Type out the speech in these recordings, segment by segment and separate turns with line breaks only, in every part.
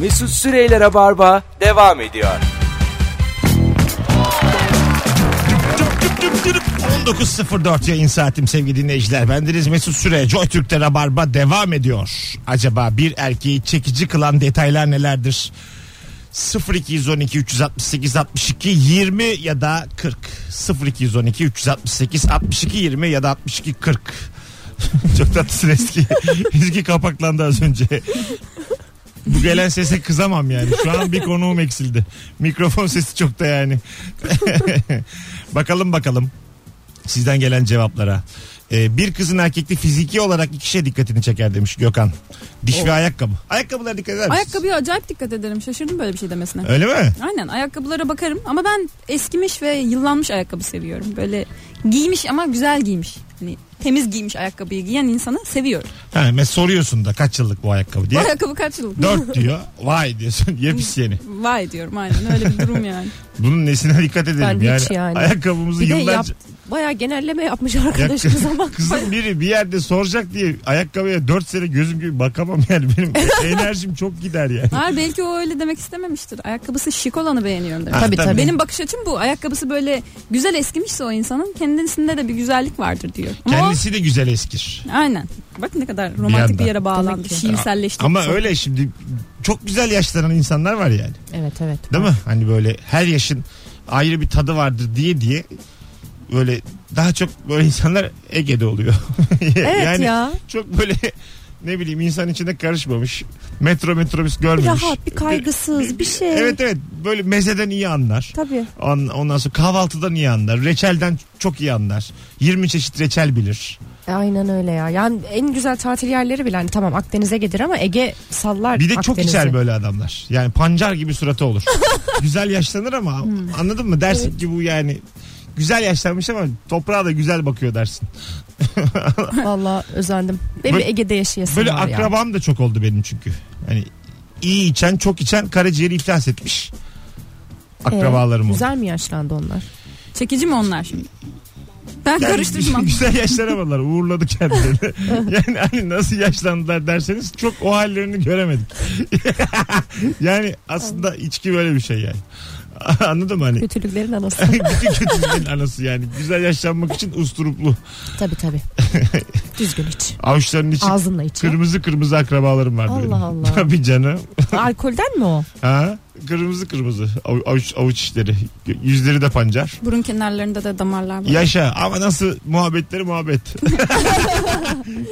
Mesut Süreyler'e barba devam ediyor.
19.04 yayın saatim sevgili dinleyiciler. Bendeniz Mesut Süre. Joy Türk'te Rabarba devam ediyor. Acaba bir erkeği çekici kılan detaylar nelerdir? 0212 368 62 20 ya da 40 0212 368 62 20 ya da 62 40 Çok tatlısın eski. Eski kapaklandı az önce. Bu gelen sese kızamam yani. Şu an bir konuğum eksildi. Mikrofon sesi çok da yani. bakalım bakalım sizden gelen cevaplara. Ee, bir kızın erkekli fiziki olarak iki şeye dikkatini çeker demiş Gökhan. Diş ve ayakkabı. Ayakkabılara dikkat eder misiniz?
Ayakkabıya acayip dikkat ederim. Şaşırdım böyle bir şey demesine.
Öyle mi?
Aynen ayakkabılara bakarım ama ben eskimiş ve yıllanmış ayakkabı seviyorum. Böyle giymiş ama güzel giymiş. Hani temiz giymiş ayakkabıyı giyen insanı seviyorum.
Ha, mesela soruyorsun da kaç yıllık bu ayakkabı
Bu
diye.
ayakkabı kaç yıllık?
Dört diyor. Vay diyorsun. Yepis yeni.
Vay diyorum aynen öyle bir durum yani.
Bunun nesine dikkat edelim
Ben
yani.
hiç yani.
Ayakkabımızı
Bir de yap,
yıllarca...
bayağı genelleme yapmış arkadaş
Ya kız-
kız ama.
Kızım biri bir yerde soracak diye ayakkabıya 4 sene gözüm gibi bakamam yani benim enerjim çok gider yani.
Hayır belki o öyle demek istememiştir. Ayakkabısı şık olanı beğeniyorum demek.
Ha,
Tabii, tabii.
Benim bakış açım bu. Ayakkabısı böyle güzel eskimişse o insanın kendisinde de bir güzellik vardır diyor. Ama o-
Kendisi de güzel eskir.
Aynen. Bak ne kadar romantik bir,
yandan.
yere bağlandı.
Tabii ki.
Şiirselleşti.
Ama öyle şimdi çok güzel yaşlanan insanlar var yani.
Evet evet.
Değil mi? Hani böyle her yaşın ayrı bir tadı vardır diye diye böyle daha çok böyle insanlar Ege'de oluyor.
Evet ya.
Çok böyle ne bileyim insan içinde karışmamış. Metro metrobüs görmemiş.
rahat, bir kaygısız, bir şey.
Evet evet böyle mezeden iyi anlar.
Tabii.
On- Ondan sonra kahvaltıdan iyi anlar. Reçelden çok iyi anlar. 20 çeşit reçel bilir.
E, Aynen öyle ya. Yani en güzel tatil yerleri bile hani tamam Akdeniz'e gelir ama Ege sallar
Bir de çok
Akdeniz'i.
içer böyle adamlar. Yani pancar gibi suratı olur. güzel yaşlanır ama
Hmm.
anladın mı? Dersin ki bu yani güzel yaşlanmış ama toprağa da güzel bakıyor dersin.
Valla özendim. Benim
Böyle-
Ege'de yaşayasım
Böyle
var ya.
akrabam da çok oldu benim çünkü. Hani iyi içen çok içen karaciğeri iflas etmiş. Akrabalarım oldu.
Ee, Güzel mi yaşlandı onlar?
Çekici mi onlar şimdi? Ben
Yani
karıştırmam.
Güzel yaşlanamadılar. Uğurladı kendileri. yani hani nasıl yaşlandılar derseniz çok o hallerini göremedik. yani aslında içki böyle bir şey yani. Anladın mı hani?
Kötülüklerin anası.
Bütün kötülüğün anası yani. Güzel yaşlanmak için usturuplu.
tabii tabii. Düzgün iç.
Avuçlarının içi
Ağzınla iç. ya.
kırmızı kırmızı akrabalarım vardı.
Allah
benim.
Allah.
Tabii canım.
Alkolden mi o?
Ha? Kırmızı kırmızı Av- avuç, avuç içleri. Yüzleri de pancar.
Burun kenarlarında da damarlar var.
Yaşa ama nasıl muhabbetleri muhabbet.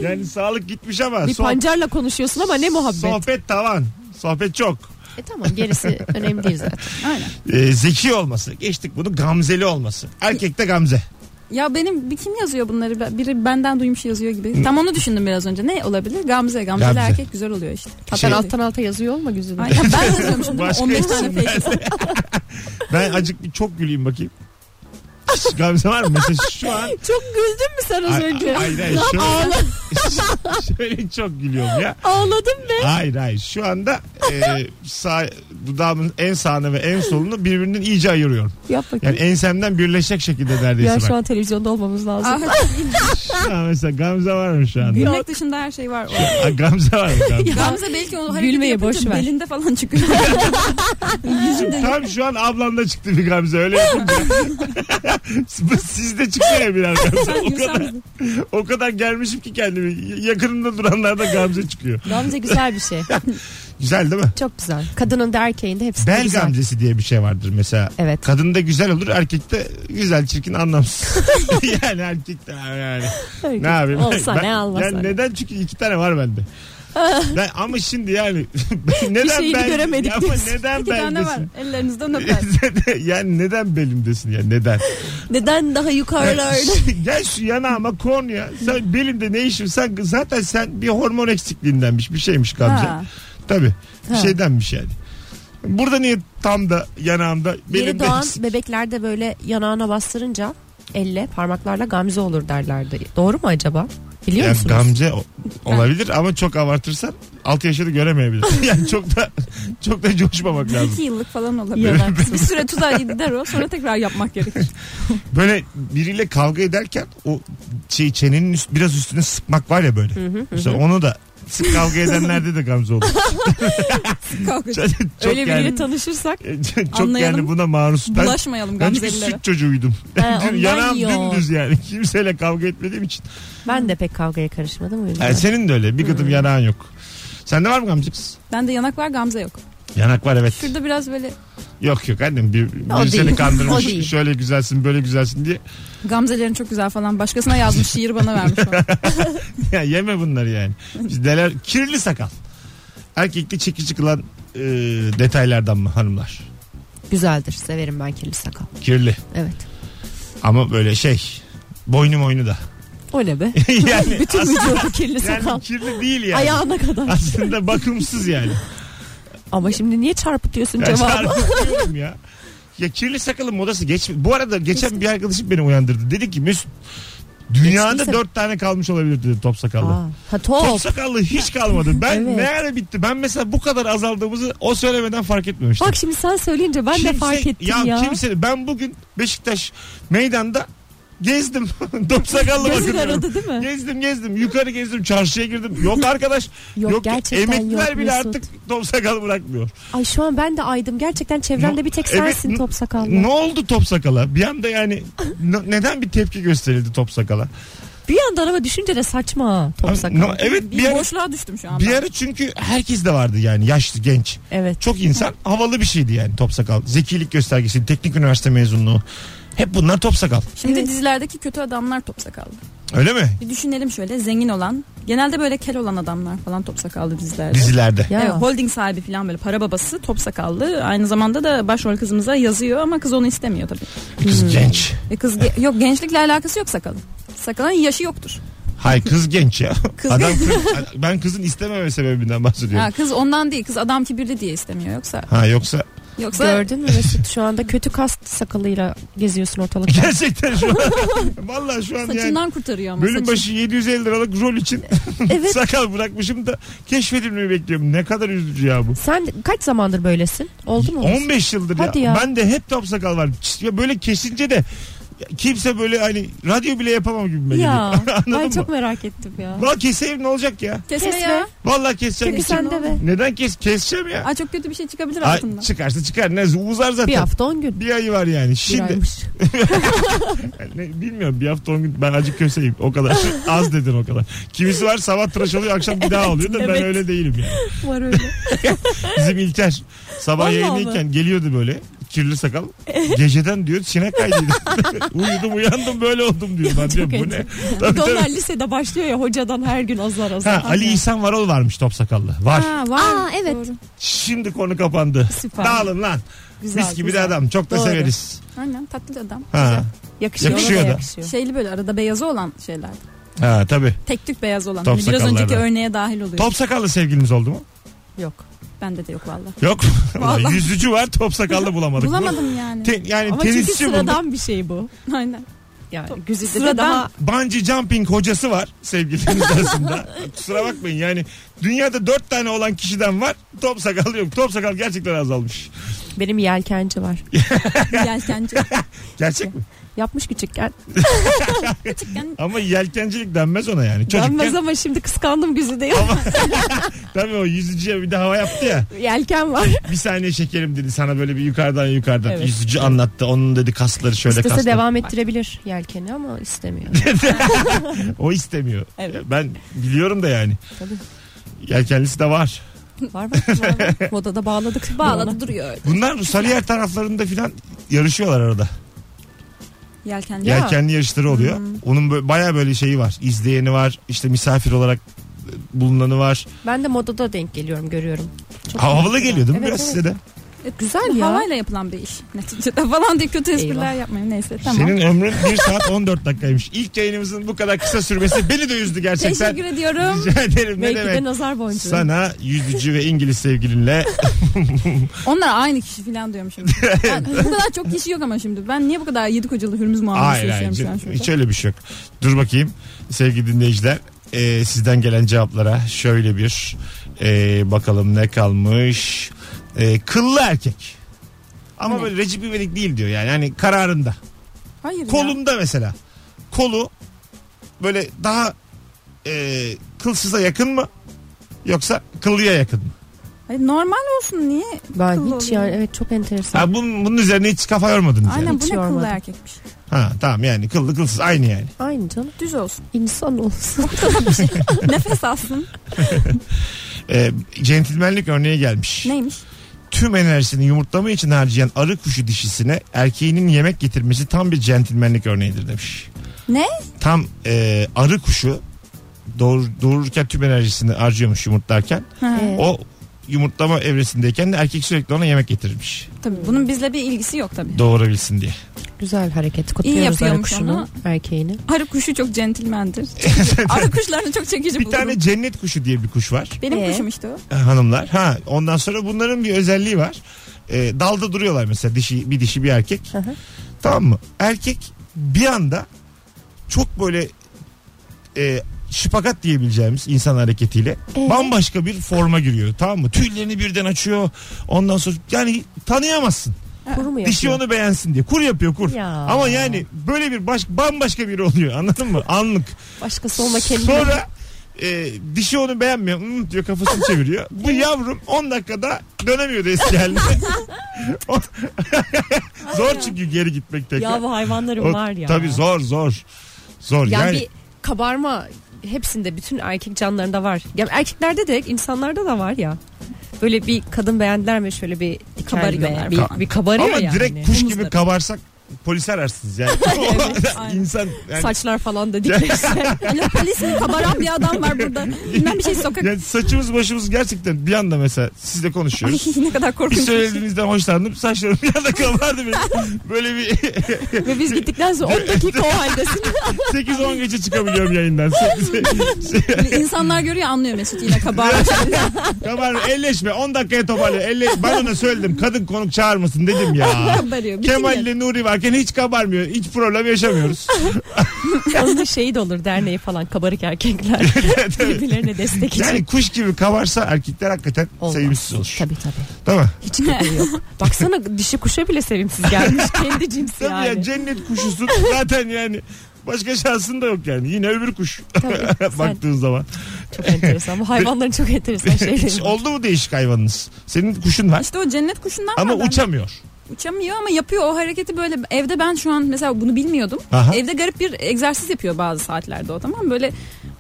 yani sağlık gitmiş ama
Bir
sohbet-
pancarla konuşuyorsun ama ne muhabbet.
Sohbet tavan. Sohbet çok.
E tamam gerisi önemli değil zaten.
Aynen.
Ee, zeki olması. Geçtik bunu gamzeli olması. Erkekte gamze.
Ya benim bir kim yazıyor bunları? Ben- Biri benden duymuş yazıyor gibi. Tam onu düşündüm biraz önce. Ne olabilir? Gamze. Gamzeli
Gamze.
erkek güzel oluyor işte. Tatlı
Şey-
Sen
oluyor.
alttan alta yazıyor olma güzünü.
Ay, ya ben yazıyormuşum değil mi?
Başka şey
15 tane
isim
fake hesap.
Ben acık bir çok güleyim bakayım. Hiç gamze var mı? Mesela şu an
Çok güldün mü sen az
Ay-
önce?
ay- hayır, hayır,
Lan
şöyle-
ağla-
şöyle çok gülüyorum ya.
ağladım be.
Hayır hayır. Şu anda e, sağ, dudağımın en sağını ve en solunu birbirinden iyice ayırıyorum.
Yap bakayım.
Yani ensemden birleşecek şekilde neredeyse
ya
bak.
şu an televizyonda olmamız lazım.
Ah,
Şu an mesela gamze var mı şu anda?
Gülmek dışında her şey var.
Ay, gamze var mı? Gamze.
Gamze belki o hareketi
Gülmeye
yapınca
boş ver.
belinde falan çıkıyor.
Tam şu an ablamda çıktı bir gamze öyle yapınca. Sizde çıktı ya birer gamze. O kadar, o kadar gelmişim ki kendimi. Yakınımda duranlarda gamze çıkıyor.
Gamze güzel bir şey.
Güzel değil mi?
Çok güzel. Kadının da erkeğin de hepsi de
Bel
güzel.
gamzesi diye bir şey vardır mesela.
Evet.
Kadında güzel olur erkekte güzel çirkin anlamsız. yani erkekte yani.
Erkek.
Ne yapayım?
Olsa
Ben-
ne almasa.
Yani neden çünkü iki tane var bende. ben, ama şimdi yani
Bir
neden
şeyini
ben
göremedik
ama
diyorsun.
neden
İki tane var.
bendesin?
Ellerinizden öper.
yani neden belimdesin ya neden?
Neden daha yukarılarda?
Gel şu yanağıma kon ya. Sen belimde ne işin? Sen zaten sen bir hormon eksikliğindenmiş bir şeymiş Gamze.
Ha.
Tabii. Bir
Ha.
şeydenmiş yani. Burada niye tam da yanağımda
Yeni
belimde
doğan bebeklerde böyle yanağına bastırınca elle parmaklarla gamze olur derlerdi. Doğru mu acaba? Biliyor
Yani
musunuz?
gamze o- olabilir ama çok abartırsan 6 yaşını göremeyebilir. yani çok da çok da coşmamak
Bir
lazım.
iki yıllık falan olabilir.
Yalaksın.
bir süre tutar gider o. Sonra tekrar yapmak gerekir.
Böyle biriyle kavga ederken o şey çenenin üst, biraz üstüne sıkmak var ya böyle. Mesela onu da Sık kavga edenlerde de Gamze olur.
Kavga.
çok
Öyle biriyle
yani,
tanışırsak.
E, çok yani
Anlayalım.
buna maruz. Ben,
Bulaşmayalım
ben şey- bir
gamzelilere.
süt çocuğuydum.
Ha, ondan
Yanağım
yiyor.
dümdüz yani. Kimseyle kavga etmediğim için.
Ben de pek kavgaya karışmadım o yüzden.
Yani Hmm. senin de öyle. Bir gıdım yanağın yok. Sende var mı Gamze kız?
Bende yanak var gamze yok.
Yanak var evet.
Şurada biraz böyle
Yok yok annem bir,
O
bir seni
değil.
kandırmış.
O değil.
Şöyle güzelsin böyle güzelsin diye.
gamzelerin çok güzel falan. Başkasına yazmış şiir bana vermiş falan.
Ya yeme bunları yani. Biz neler kirli sakal. Erkekte çekici kılan e, detaylardan mı hanımlar?
Güzeldir. Severim ben kirli sakal.
Kirli.
Evet.
Ama böyle şey boynu boynu da.
O ne be?
yani,
Bütün vücudu kirli sakal.
yani kirli değil yani.
Ayağına kadar.
Aslında bakımsız yani.
Ama şimdi niye çarpıtıyorsun
Ya
cevabı?
çarpıtıyorum ya. Ya kirli sakalın modası geç. Bu arada geçen bir arkadaşım beni uyandırdı. Dedi ki Mesut dünyada
Geçtiyse-
dört tane kalmış olabilir dedi top sakallı.
Aa, ha
Top
top.
sakallı hiç kalmadı. Ben
Evet.
ne ara bitti? Ben mesela bu kadar azaldığımızı o söylemeden fark etmemiştim.
Bak şimdi sen söyleyince ben de
Kimse-
fark ettim ya.
kimse ben bugün Beşiktaş meydanda gezdim. Top sakallı
Gözün
bakıyorum.
aradı değil mi?
Gezdim gezdim yukarı gezdim çarşıya girdim. Yok arkadaş.
Yok, gerçekten
emekliler
yok
bile
Mesut.
artık top sakalı bırakmıyor.
Ay şu an ben de aydım. Gerçekten çevrende
No-
bir tek
Evet,
sensin
no-
top sakallı.
Ne oldu top sakala? Bir anda yani n- neden bir tepki gösterildi top sakala?
Bir yandan ama düşünce de saçma ha, top
Abi,
sakal.
no- evet bir,
Bir
ara,
boşluğa düştüm şu an.
bir
ben.
ara çünkü herkes de vardı yani yaşlı genç.
Evet.
Çok insan havalı bir şeydi yani top sakal. Zekilik göstergesi, teknik üniversite mezunluğu. Hep bunlar top sakal.
Şimdi
Evet.
dizilerdeki kötü adamlar top sakallı.
Öyle mi?
Bir düşünelim şöyle zengin olan. Genelde böyle kel olan adamlar falan top sakallı dizilerde.
Dizilerde.
Ya.
Evet, holding sahibi falan böyle para babası top sakallı. Aynı zamanda da başrol kızımıza yazıyor ama kız onu istemiyor tabii.
Kız genç.
E kız ge- yok gençlikle alakası yok sakalın. Sakalın yaşı yoktur.
Hay kız genç ya.
Kız
Adam kız- ben kızın istememe sebebinden bahsediyorum.
Ha, kız ondan değil. Kız adam kibirli diye istemiyor. Yoksa
Ha yoksa
yoksa
Gördün mü Mesut şu anda kötü kast sakalıyla geziyorsun ortalıkta.
gerçekten şu an vallahi şu an yani
saçından kurtarıyor ama.
bölüm
saçı.
başı 750 liralık rol için
evet.
sakal bırakmışım da keşfedilmeyi bekliyorum. Ne kadar üzücü ya bu.
Sen kaç zamandır böylesin? Oldu mu?
15 yıldır
Hadi
ya.
ya.
Ben de hep top sakal var. Çiz- Ya böyle kesince de kimse böyle hani radyo bile yapamam gibi geliyor.
Ya.
Anladın
Ay
mı?
çok merak ettim ya.
Vallahi keseyim ne olacak ya?
Kesme
Kesme.
ya.
Vallahi keseceğim.
Çünkü sen de be.
Neden kes keseceğim ya?
Aa, çok kötü bir şey çıkabilir
Ay,
altından.
çıkarsa çıkar. Ne uzar zaten.
Bir hafta 10 gün.
Bir ayı var yani.
Bir
Şimdi
aymış.
ne, bilmiyorum bir hafta on gün ben acık köseyim o kadar. Az dedin o kadar. Kimisi var sabah tıraş oluyor akşam bir daha oluyor da ben
evet.
öyle değilim yani.
Var öyle.
Bizim İlker sabah
Vallahi
yayındayken geliyordu böyle kirli sakal. Geceden diyor sinek kaydıydı. Uyudum uyandım böyle oldum diyor. Ben
Çok
diyorum bu ne?
enteresan.
Tabii,
Bir de onlar
tabii.
lisede başlıyor ya hocadan her gün azar azar.
Ha, Ali İhsan Varol varmış top sakallı. Var.
Ha, var.
Aa evet.
Doğru.
Şimdi konu kapandı.
Süper.
Dağılın lan.
Güzel,
Mis gibi
güzel.
de adam. Çok da
Doğru.
severiz.
Aynen tatlı adam.
Ha. Yakışıyor
Yakışıyor, yakışıyor
da.
da. Yakışıyor.
Şeyli böyle arada beyazı olan şeyler.
Ha tabii.
Tek tük beyaz olan.
Top
Hani biraz
sakallardan.
önceki örneğe dahil oluyor.
Top sakallı sevgiliniz oldu mu?
Yok.
Bende de yok valla.
Yok.
Vallahi.
Yüzücü var top sakallı bulamadık.
Bulamadım yani.
Te- yani
Ama çünkü
tenisçi bulduk.
sıradan bir şey bu.
Aynen.
Yani güzide de
Sıradan.
daha
Bungee jumping hocası var sevgiliniz arasında. Kusura bakmayın yani dünyada dört tane olan kişiden var. Top sakal yok. Top sakal gerçekten azalmış.
benim yelkenci var.
Yelkenci.
Gerçek mi?
Yapmış küçükken.
Küçükken
Ama yelkencilik denmez ona yani. Çocukken
Denmez ama şimdi kıskandım güzideyi.
tabii o yüzücüye bir de hava yaptı ya.
Yelken var.
Bir saniye şekerim dedi sana böyle bir yukarıdan yukarıdan.
Evet.
Yüzücü anlattı. Onun dedi kasları şöyle
İstese
kasları.
devam ettirebilir yelkeni ama istemiyor.
O istemiyor.
Evet.
Ben biliyorum da yani.
Tabii.
Yelkenlisi de var.
var var. var, var. Modada bağladık.
bağladı duruyor öyle.
Bunlar Sarıyer taraflarında filan yarışıyorlar arada.
Yelkenci.
Ya. Hmm.
Yelkenli yarışları oluyor. Onun böyle, bayağı böyle şeyi var. İzleyeni var. işte misafir olarak e, bulunanı var.
Ben de modada denk geliyorum görüyorum. Çok
Ha, havalı
güzel.
geliyor değil mi
Evet,
biraz
evet.
size de?
E, Güzel ya.
Havayla yapılan bir iş neticede falan diye kötü espriler
Eyvah.
yapmayın neyse tamam.
Senin ömrün 1 saat 14 dakikaymış. İlk yayınımızın bu kadar kısa sürmesi beni de üzdü gerçekten.
Teşekkür ediyorum.
Rica ederim ne
Belki de
demek.
nazar boncuğu.
Sana yüzücü ve İngiliz sevgilinle
Onlar aynı kişi falan diyorum şimdi. Yani bu kadar çok kişi yok ama şimdi. Ben niye bu kadar yedi kocalı hürmüz muamelesi
Hayır hayır
yaşıyorum şu an şurada?
hiç öyle bir şey yok. Dur bakayım sevgili dinleyiciler Ee, sizden gelen cevaplara şöyle bir ee, bakalım ne kalmış. Ee, kıllı erkek. Ama
Ne?
böyle Recep İvedik değil diyor yani hani kararında.
Hayır ya.
Kolunda mesela kolu böyle daha ee, kılsıza e, yakın mı? Yoksa kıllıya yakın mı?
Hayır, normal olsun niye?
Ben
Kıllı
hiç
oluyor.
yani evet çok enteresan.
Ha, bunun, bunun üzerine hiç kafa yormadınız yani.
Aynen bu ne
Hiç
kıllı
yormadım.
erkekmiş.
Ha, tamam yani kıllı kılsız aynı yani.
Aynı canım.
Düz olsun.
İnsan olsun.
Nefes alsın.
Ee, centilmenlik örneği gelmiş.
Neymiş?
Tüm enerjisini yumurtlama için harcayan arı kuşu dişisine erkeğinin yemek getirmesi tam bir centilmenlik örneğidir demiş.
Ne?
Tam e, arı kuşu doğur, doğururken tüm enerjisini harcıyormuş yumurtlarken.
Ha,
Evet.
O yumurtlama evresindeyken de erkek sürekli ona yemek getirirmiş.
Tabii bunun bizle bir ilgisi yok tabii.
Doğurabilsin diye.
Güzel hareket. Kutluyoruz arı
yapıyormuş
kuşunu.
onu.
Erkeğini.
Arı kuşu çok centilmendir. Arı kuşlarını çok çekici
Bir
bulurum.
tane cennet kuşu diye bir kuş var.
Benim
Ee?
kuşum işte o.
e, hanımlar. Ha ondan sonra bunların bir özelliği var. E, dalda duruyorlar mesela dişi bir dişi bir erkek.
Hı hı.
Tamam mı? Erkek bir anda çok böyle e, şıpakat diyebileceğimiz insan hareketiyle
Ee?
bambaşka bir forma giriyor. Tamam mı? Tüylerini birden açıyor. Ondan sonra yani tanıyamazsın.
Kuru mu
Dişi onu beğensin diye. Kur yapıyor kur.
Ya.
Ama yani böyle bir baş, bambaşka biri oluyor. Anladın mı? Anlık.
Başkası olma kendine.
Sonra e, dişi onu beğenmiyor. "Hmm" diyor kafasını çeviriyor. Bu yavrum 10 dakikada dönemiyordu eski haline. O- zor çünkü geri gitmek tekrar.
Ya bu hayvanlarım
O-
var ya.
Tabii zor zor. Zor
Yani,
yani.
bir kabarma hepsinde bütün erkek canlarında var. Ya erkeklerde de insanlarda da var ya. Böyle bir kadın beğendiler mi şöyle bir
Kabarıyorlar
kabarıyorlar. Bir, bir kabarıyor
Ama
yani.
direkt kuş gibi
hani Omuzları.
kabarsak polis ararsınız yani.
aynen.
İnsan yani,
Saçlar falan da dikilirse.
Alo polis mi? Kabaran bir adam var burada. Bilmem bir şey sokak.
yani saçımız başımız gerçekten bir anda mesela sizle
Ay,
konuşuyoruz.
ne kadar
Bir
korkunç. bir şey.
söylediğinizden hoşlandım. Saçlarım bir anda kabardı benim. Böyle bir
Ve biz gittikten sonra 10 dakika o haldesin.
8-10 gece çıkabiliyorum yayından.
İnsanlar Hani görüyor anlıyor Mesut yine kabarmış.
Kabar elleşme 10 dakikaya toparla. Elle, ben ona söyledim kadın konuk çağırmasın dedim ya.
Kabarıyor. Bütün
Kemal
yer.
ile Nuri varken hiç kabarmıyor. Hiç problem yaşamıyoruz.
Onun şeyi şey de olur derneği falan kabarık erkekler. Birbirlerine destek için.
yani kuş gibi kabarsa erkekler hakikaten
Olmaz.
sevimsiz olur.
Tabii tabii.
Değil mi?
Hiç kabuğu yok. Baksana dişi kuşa bile sevimsiz gelmiş. Kendi cinsi
Tabii ya
yani.
cennet kuşusun zaten yani. Başka şansın da yok yani. Yine öbür kuş
Tabii, sen-
baktığın zaman.
Çok enteresan. Bu hayvanların çok enteresan
Hiç
şeyleri. var.
oldu mu değişik hayvanınız? Senin kuşun var
İşte o cennet kuşundan
ama
var bende.
uçamıyor.
uçamıyor ama yapıyor o hareketi böyle evde ben şu an mesela bunu bilmiyordum.
Aha.
Evde garip bir egzersiz yapıyor bazı saatlerde o tamam mı? böyle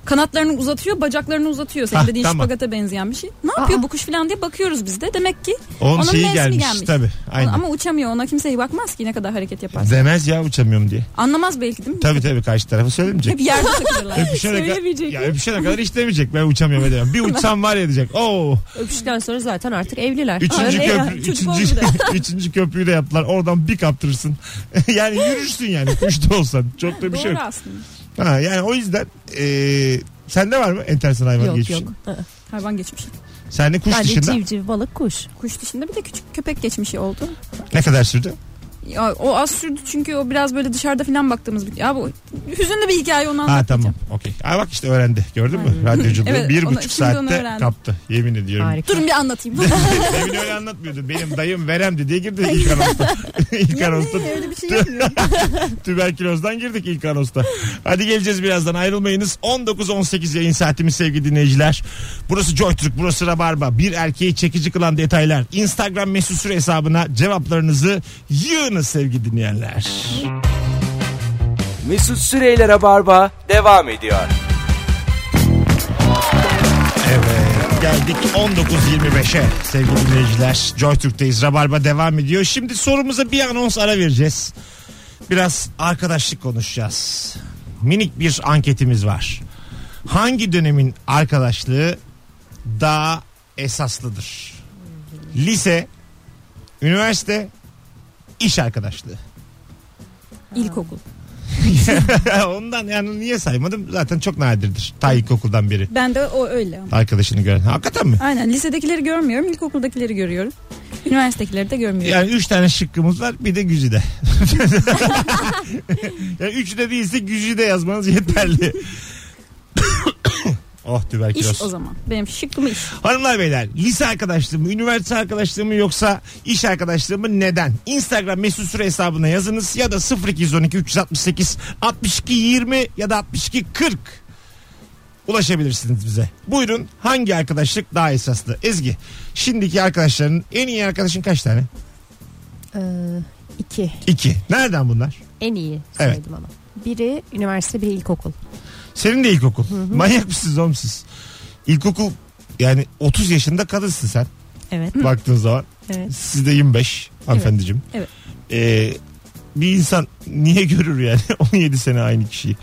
kanatlarını uzatıyor bacaklarını uzatıyor senin
Hah,
dediğin
Ah, tamam.
şıpagata benzeyen bir şey. Ne yapıyor
Aa.
bu kuş falan diye bakıyoruz biz de demek ki
Onun,
Onun
şeyi
mevsimi
gelmiş.
gelmiş.
Tabii aynen.
ama uçamıyor ona kimse iyi bakmaz ki ne kadar hareket yaparsa.
Demez ya uçamıyorum diye.
Anlamaz belki değil mi?
Tabii tabii karşı tarafa söylemeyecek.
Hep yerde takılırlar.
Öpüşene kadar,
Söylemeyecek
ya
mi?
öpüşene kadar hiç demeyecek. Ben uçamıyorum edemem. Bir uçsam var ya diyecek. Oo.
Öpüşten sonra zaten artık evliler.
Üçüncü
Öyle
köprü,
ya.
Çocuk
üçüncü, üçüncü köprüyü de yaptılar. Oradan bir kaptırırsın. yani yürürsün yani. Kuş da olsan. Çok da bir
Doğru
şey yok.
aslında.
Ha, yani o yüzden e, sende var mı enteresan hayvan
Yok
geçmişi?
yok. Hı.
Hayvan geçmişi.
Sende kuş
Sadece
dışında
civciv balık kuş.
Kuş dışında bir de küçük köpek geçmişi oldu.
ne kadar sürdü?
Ya, o az sürdü çünkü o biraz böyle dışarıda falan baktığımız bir... Ya bu hüzünlü bir hikaye onu
Ha
anlatmayacağım.
tamam. Okey. Ay bak işte öğrendi. Gördün mü?
Aynen.
Radyoculuğu
Evet,
bir
onu-
buçuk
şimdi onu
saatte
öğrendim.
kaptı. Yemin ediyorum.
Harika.
Durun bir anlatayım.
Demin öyle anlatmıyordu. Benim dayım veremdi diye girdi ilk anonsta. ilk anonsta
öyle bir şey yapmıyorum.
Tüberkülozdan girdik ilk anosta. Hadi geleceğiz birazdan ayrılmayınız. 19-18 yayın saatimiz sevgili dinleyiciler. Burası Joytürk, burası Rabarba. Bir erkeği çekici kılan detaylar. Instagram mesut süre hesabına cevaplarınızı yığınız sevgili dinleyenler.
Mesut Süreyler'e barba devam ediyor.
Evet Ee, geldik 19.25'e sevgili dinleyiciler. Joytürk'teyiz. Rabarba devam ediyor. Şimdi sorumuza bir anons ara vereceğiz. Biraz arkadaşlık konuşacağız. Minik bir anketimiz var. Hangi dönemin arkadaşlığı daha esaslıdır? Lise, üniversite, iş arkadaşlığı.
İlkokul.
Ondan yani niye saymadım? Zaten çok nadirdir. Ta ilkokuldan beri
Ben de o öyle. ama.
arkadaşını gören. Hakikaten mi?
Aynen lisedekileri görmüyorum, ilkokuldakileri görüyorum. Üniversitedekileri de görmüyorum.
Yani üç tane şıkkımız var bir de güzide. yani üç de değilse güzide yazmanız yeterli. oh
İş
tüberküloz.
o zaman. Benim şıkkım iş.
Hanımlar beyler lise arkadaşlığı mı, üniversite arkadaşlığı mı yoksa iş arkadaşlığı mı neden? Instagram mesut süre hesabına yazınız ya da 0212 368 62 20 ya da 62 40 ulaşabilirsiniz bize. Buyurun hangi arkadaşlık daha esaslı? Ezgi şimdiki arkadaşların en iyi arkadaşın kaç tane?
Ee, iki.
İki. Nereden bunlar?
En iyi
Evet.
söyledim ama. Biri üniversite biri ilkokul.
Senin de ilkokul. Manyak mısınız oğlum siz? İlkokul yani 30 yaşında kadınsın sen
Evet.
baktığın zaman.
Evet.
Siz de 25 hanımefendiciğim.
Evet.
Ee, bir insan niye görür yani 17 sene aynı kişiyi?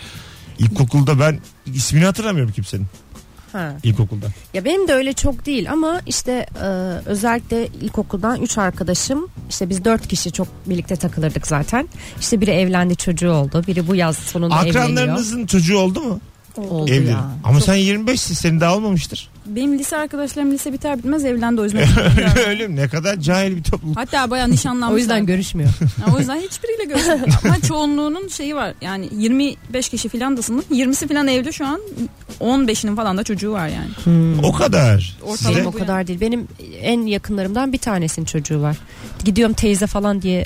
İlkokulda ben ismini hatırlamıyorum kimsenin
Ha.
ilkokulda.
Ya benim de öyle çok değil ama işte e, özellikle ilkokuldan 3 arkadaşım işte biz 4 kişi çok birlikte takılırdık zaten. İşte biri evlendi çocuğu oldu. Biri bu yaz sonunda evleniyor.
Akranlarınızın çocuğu oldu mu?
Oldu
Evli.
ya.
Ama sen 25'sin senin daha olmamıştır.
Benim lise arkadaşlarım lise biter bitmez evlendi o yüzden.
Öyle öyle mi? ne kadar cahil bir topluluk.
Hatta bayağı nişanlanmışlar.
O yüzden görüşmüyor.
Yani o yüzden hiçbiriyle görüşmedim. Ama çoğunluğunun şeyi var. Yani 25 kişi filan da sınıf. 20'si filan evli şu an. 15'inin falan da çocuğu var yani.
O kadar.
Ortalama
Benim
Size
Hmm. o
bu
kadar değil. Benim en yakınlarımdan bir tanesinin çocuğu var. Gidiyorum teyze falan diye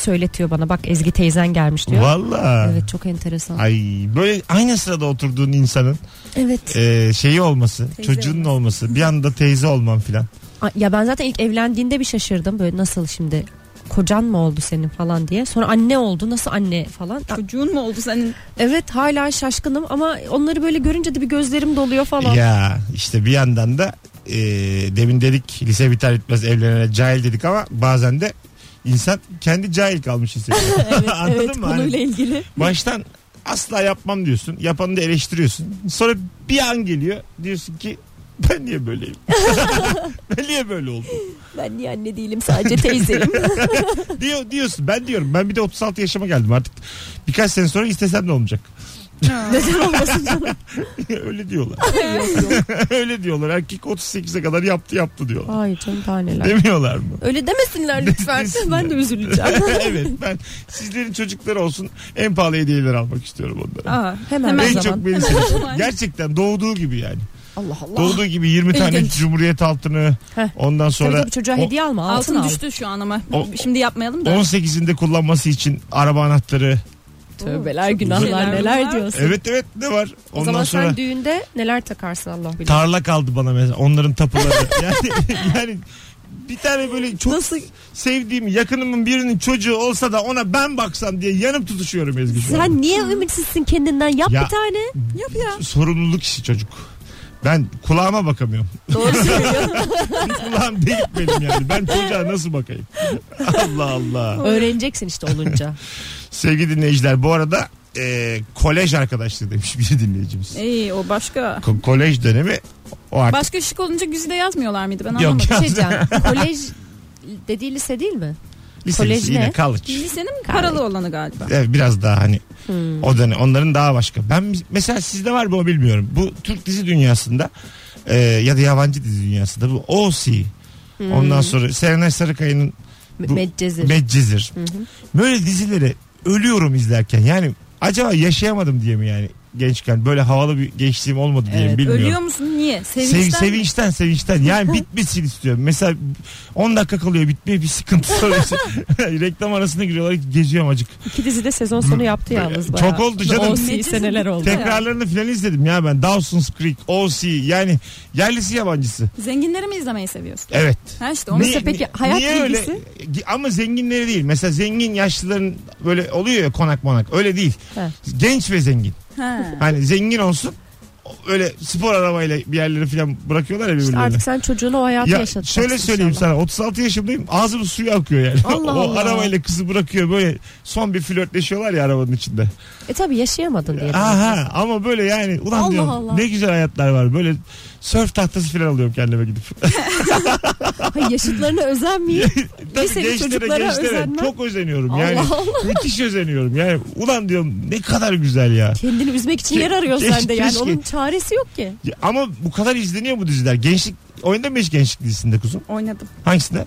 söyletiyor bana. Bak Ezgi teyzen gelmiş diyor.
Valla.
Evet çok enteresan.
Ay böyle aynı sırada oturduğun insanın
Evet.
e, şeyi olması,
Teyze
çocuğunun olması, bir anda teyze olman filan.
Ay, Ya ben zaten ilk evlendiğinde bir şaşırdım. Böyle nasıl şimdi kocan mı oldu senin falan diye. Sonra anne oldu. Nasıl anne falan. Ya,
Çocuğun mu oldu senin?
Evet hala şaşkınım ama onları böyle görünce de bir gözlerim doluyor falan.
Ya işte bir yandan da e, demin dedik lise biter bitmez evlenene cahil dedik ama bazen de insan kendi cahil kalmış hissediyor. Anladın
evet
mı? Hani
konuyla ilgili.
baştan asla yapmam diyorsun. Yapanı da eleştiriyorsun. Sonra bir an geliyor diyorsun ki ben niye böyleyim? ben niye böyle oldum?
Ben niye anne değilim sadece teyzeyim.
Diyor, diyorsun ben diyorum. Ben bir de 36 yaşıma geldim artık. Birkaç sene sonra istesem de olmayacak.
Neden olmasın
Öyle diyorlar. Öyle diyorlar. Erkek 38'e kadar yaptı yaptı diyorlar.
Ay canım taneler.
Demiyorlar mı?
Öyle demesinler lütfen.
Demesinler.
ben de üzüleceğim.
evet ben sizlerin çocukları olsun en pahalı hediyeleri almak istiyorum onlara.
Aa,
Hemen
Hemen
en
o zaman.
çok beni seviyorsun.
zaman.
Gerçekten doğduğu gibi yani.
Allah Allah.
Doğduğu gibi 20 tane
İlginç.
cumhuriyet altını
Heh.
ondan
Tabii
sonra
tabii çocuğa
o-
hediye alma. Altın,
altın
al.
düştü şu an ama.
O-
Şimdi yapmayalım da.
18'inde kullanması için araba anahtarı.
Tövbeler
güzel.
günahlar neler diyorsun.
Evet evet ne var?
O
E, Ondan
zaman
sonra
sen düğünde neler takarsın Allah bilir.
tarla kaldı bana mesela. Onların tapuları. yani, yani bir tane böyle çok
Nasıl
sevdiğim yakınımın birinin çocuğu olsa da ona ben baksam diye yanıp tutuşuyorum Ezgi şu an.
sen niye ümitsizsin kendinden yap
Ya.
bir tane.
Yap ya.
Sorumluluk işi çocuk. Ben kulağıma bakamıyorum.
Doğru söylüyorsun.
Kulağım delik benim yani. Ben çocuğa nasıl bakayım? Allah Allah.
Öğreneceksin işte olunca.
Sevgili dinleyiciler bu arada e, kolej arkadaşlığı demiş bir dinleyicimiz.
Ey o başka.
Ko- kolej dönemi o artık.
Başka şık olunca güzide yazmıyorlar mıydı? Ben
Yok.
anlamadım.
Bir şey diyeceğim. Kolej dediği lise değil mi?
Lise,
kolej
lise, yine
ne?
college.
Lisenin paralı olanı galiba.
Evet, biraz daha hani
Hmm.
o dönem onların daha başka. Ben mesela sizde var mı o bilmiyorum. Bu Türk dizi dünyasında e, ya da yabancı dizi dünyasında bu OC. Ondan sonra Serenay Sarıkaya'nın bu-
M- Hmm. Medcezir.
Medcezir.
Hı hı.
Böyle dizileri ölüyorum izlerken. Yani acaba yaşayamadım diye mi yani gençken böyle havalı bir gençliğim olmadı diye mi
Evet,
bilmiyorum.
Ölüyor musun? Niye? Sevinçten
Sev,
mi?
sevinçten sevinçten yani bitmesin istiyorum. Mesela 10 dakika kalıyor bitmeye bir sıkıntı soruyorsun. Reklam arasına giriyorlar geziyorum acık.
İki dizi de sezon sonu yaptı yalnız bayağı.
Çok oldu canım.
OC seneler oldu.
Tekrarlarını filan izledim ya ben. Dawson's Creek, O.C. yani yerlisi yabancısı.
Zenginleri mi izlemeyi seviyorsun?
Evet.
Ha işte onu
Niye-
Mesela peki
ni-
hayat
niye
bilgisi?
öyle? Ama zenginleri değil. Mesela zengin yaşlıların böyle oluyor ya konak monak. Öyle değil.
He.
Genç ve zengin.
Ha.
Hani zengin olsun. o- Öyle spor arabayla bir yerlere falan bırakıyorlar ya birbirlerine.
Artık sen çocuğuna o hayatı
Ya
yaşatacaksın.
şöyle söyleyeyim
inşallah.
sana 36 yaşındayım ağzım suyu akıyor yani.
Allah
o
Allah.
arabayla kızı bırakıyor böyle son bir flörtleşiyorlar ya arabanın içinde.
E tabi yaşayamadın diye.
Aha ama böyle yani ulan
Allah
diyorum
Allah.
ne güzel hayatlar var. Böyle sörf tahtası falan alıyorum kendime gidip.
Hayır, yaşıtlarına özenmeyeyim. Liseli çocuklara özenme.
çok özeniyorum
Allah
yani.
Allah.
Müthiş özeniyorum yani. Ulan diyorum ne kadar güzel ya.
Kendini üzmek için yer arıyor
Keşke-
sende yani.
keşke.
Onun çaresi yok ki.
Ya Ama bu kadar izleniyor bu diziler. Gençlik oynadın mı hiç gençlik dizisinde kuzum?
Oynadım.
Hangisinde?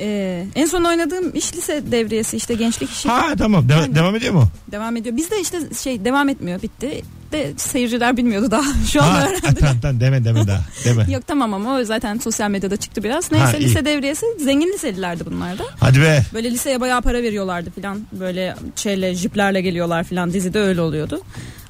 Ee, en son oynadığım iş lise devriyesi işte gençlik işi
Ha tamam. De-
Aynen.
devam ediyor mu?
devam ediyor. Bizde işte şey devam etmiyor bitti. De seyirciler bilmiyordu daha. Şu an
Ha,
öğren-
ha, tamam tamam deme deme daha. Deme.
Yok tamam ama o zaten sosyal medyada çıktı biraz. Neyse
Ha, iyi.
lise devriyesi zengin liselilerdi bunlar da.
Hadi be.
Böyle liseye bayağı para veriyorlardı filan. Böyle şeyle jiplerle geliyorlar filan. Dizide öyle oluyordu.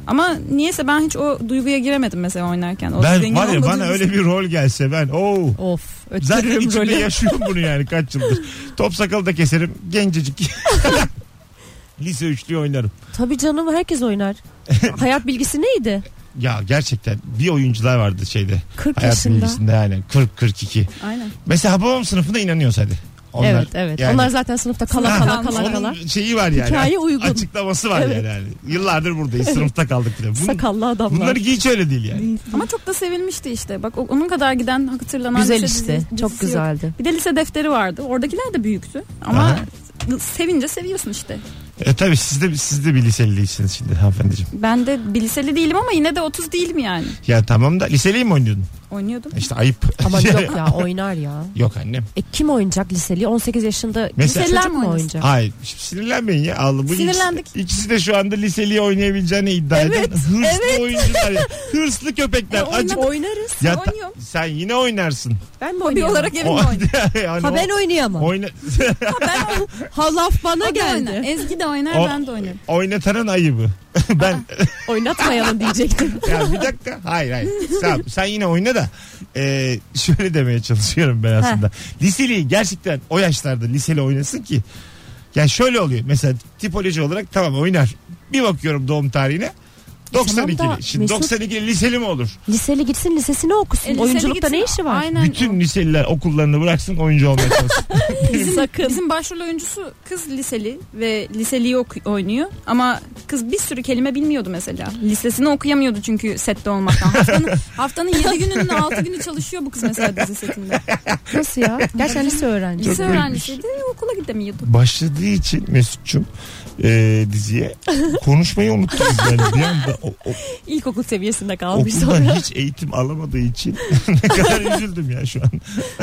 Ama niyeyse ben hiç o duyguya giremedim mesela oynarken. O
ben
zengin
var ya
olmadığı
bana öyle bir rol gelse ben oo.
Of
Zaten
öttürürüm
içimde
rolü.
yaşıyorum bunu yani kaç yıldır. Top sakalı da keserim. Gencecik. Lise üçlü oynarım.
Tabii canım herkes oynar. Hayat bilgisi neydi?
Ya gerçekten bir oyuncular vardı şeyde.
40
Hayat
yaşında.
bilgisinde yani 40-42.
Aynen.
Mesela babam sınıfına inanıyoruz hadi. Onlar,
evet evet.
yani-
Onlar zaten sınıfta kala
Ha,
kala kala
kalmış.
kala.
Onun şeyi var yani.
Hikaye uygun.
Açıklaması var
Evet.
yani. yani. Yıllardır buradayız. Sınıfta kaldık bile. Bun-
Sakallı adamlar.
bunları hiç öyle değil yani.
Ama çok da sevinmişti işte. Bak o- onun kadar giden hatırlanan
Güzel
lise
işte.
dizi-
Çok
dizisi yok.
güzeldi.
Bir de lise defteri vardı. Oradakiler de büyüktü. Ama
Aha.
sevince seviyorsun işte.
E tabi siz de, siz de bir liseli değilsiniz şimdi hanımefendiciğim.
Ben de bir liseli değilim ama yine de 30 değilim yani.
Ya tamam da liseliyi mi oynuyordun?
Oynuyordum.
İşte ayıp.
Ama yok ya oynar ya.
Yok annem.
E kim oynayacak liseli? 18 yaşında
Mesela-
liseli
Liseliler
çocuk
mi
mu
oynasın?
oynayacak?
Hayır şimdi sinirlenmeyin ya. Allah, bu
Sinirlendik.
Ikisi, ikisi de şu anda liseliği oynayabileceğini iddia
Evet,
eden hırslı oyuncular. ya. Hırslı köpekler.
E, oyna-
Acık-
Oynarız.
Ya ta-
Oynuyorum.
sen yine oynarsın.
Ben mi
Bir
oynayayım?
olarak evimde
O-
oynuyorum.
Yani
Ha
o-
ben oynayamam.
oyna,
Ha laf bana
O da oynar.
geldi.
Ezgi de oynar
O-
ben de oynarım.
oynatanın ayıbı. ben
Oynatmayalım diyecektim.
ya bir dakika. Hayır hayır. Sen, sen yine oyna da. Ee, şöyle demeye çalışıyorum ben aslında. Liseli gerçekten o yaşlarda liseli oynasın ki. Ya şöyle oluyor. Mesela tipoloji olarak tamam oynar. Bir bakıyorum doğum tarihine. 92'li.
tamam da
Şimdi
Mesut-
92'li liseli mi olur?
Liseli gitsin lisesini okusun.
E, liseli
Oyunculukta ne
gitsin.
işi var?
Aynen.
Bütün liseliler okullarını bıraksın oyuncu olmaya çalışsın.
Bizim,
Sakın.
bizim başrol oyuncusu kız liseli ve liseliği oku- oynuyor ama kız bir sürü kelime bilmiyordu mesela. Lisesini okuyamıyordu çünkü sette olmaktan. Haftanın, haftanın 7 gününün 6 günü çalışıyor bu kız mesela dizi setinde.
Nasıl ya? Gerçekten lise öğrencisi.
Lise
garipmiş.
öğrencisiydi okula gidemiyordu.
Başladığı için Mesut'cum e, diziye konuşmayı unuttunuz. Yani bir anda o- o-
İlkokul seviyesinde kalmış
okuldan hiç eğitim alamadığı için ne kadar üzüldüm ya şu an.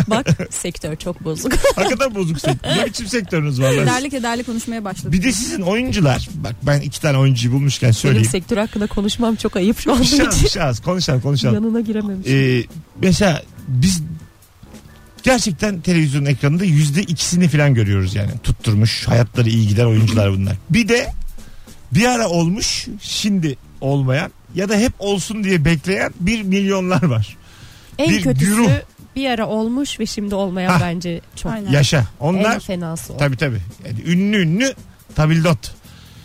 Bak sektör çok bozuk.
Hakikaten bozuk sektör. Ne biçim sektörünüz var lan?
Ederli kederli konuşmaya başladı.
Bir de sizin oyuncular. Bak ben iki tane oyuncuyu bulmuşken
Benim
söyleyeyim. şey
sektör hakkında konuşmam çok ayıp şu an.
Şans şans konuşalım konuşalım.
Yanına girememişim.
Ee, mesela biz gerçekten televizyonun ekranında yüzde ikisini falan görüyoruz yani. Tutturmuş hayatları iyi giden oyuncular bunlar. Bir de bir ara olmuş şimdi olmayan ya da hep olsun diye bekleyen bir milyonlar var.
en
bir
kötüsü
güruh.
bir ara olmuş ve şimdi olmayan
Ha.
bence çok.
Aynen.
Yaşa. Onlar
En fenası o.
tabii tabii. Yani ünlü ünlü tabildot.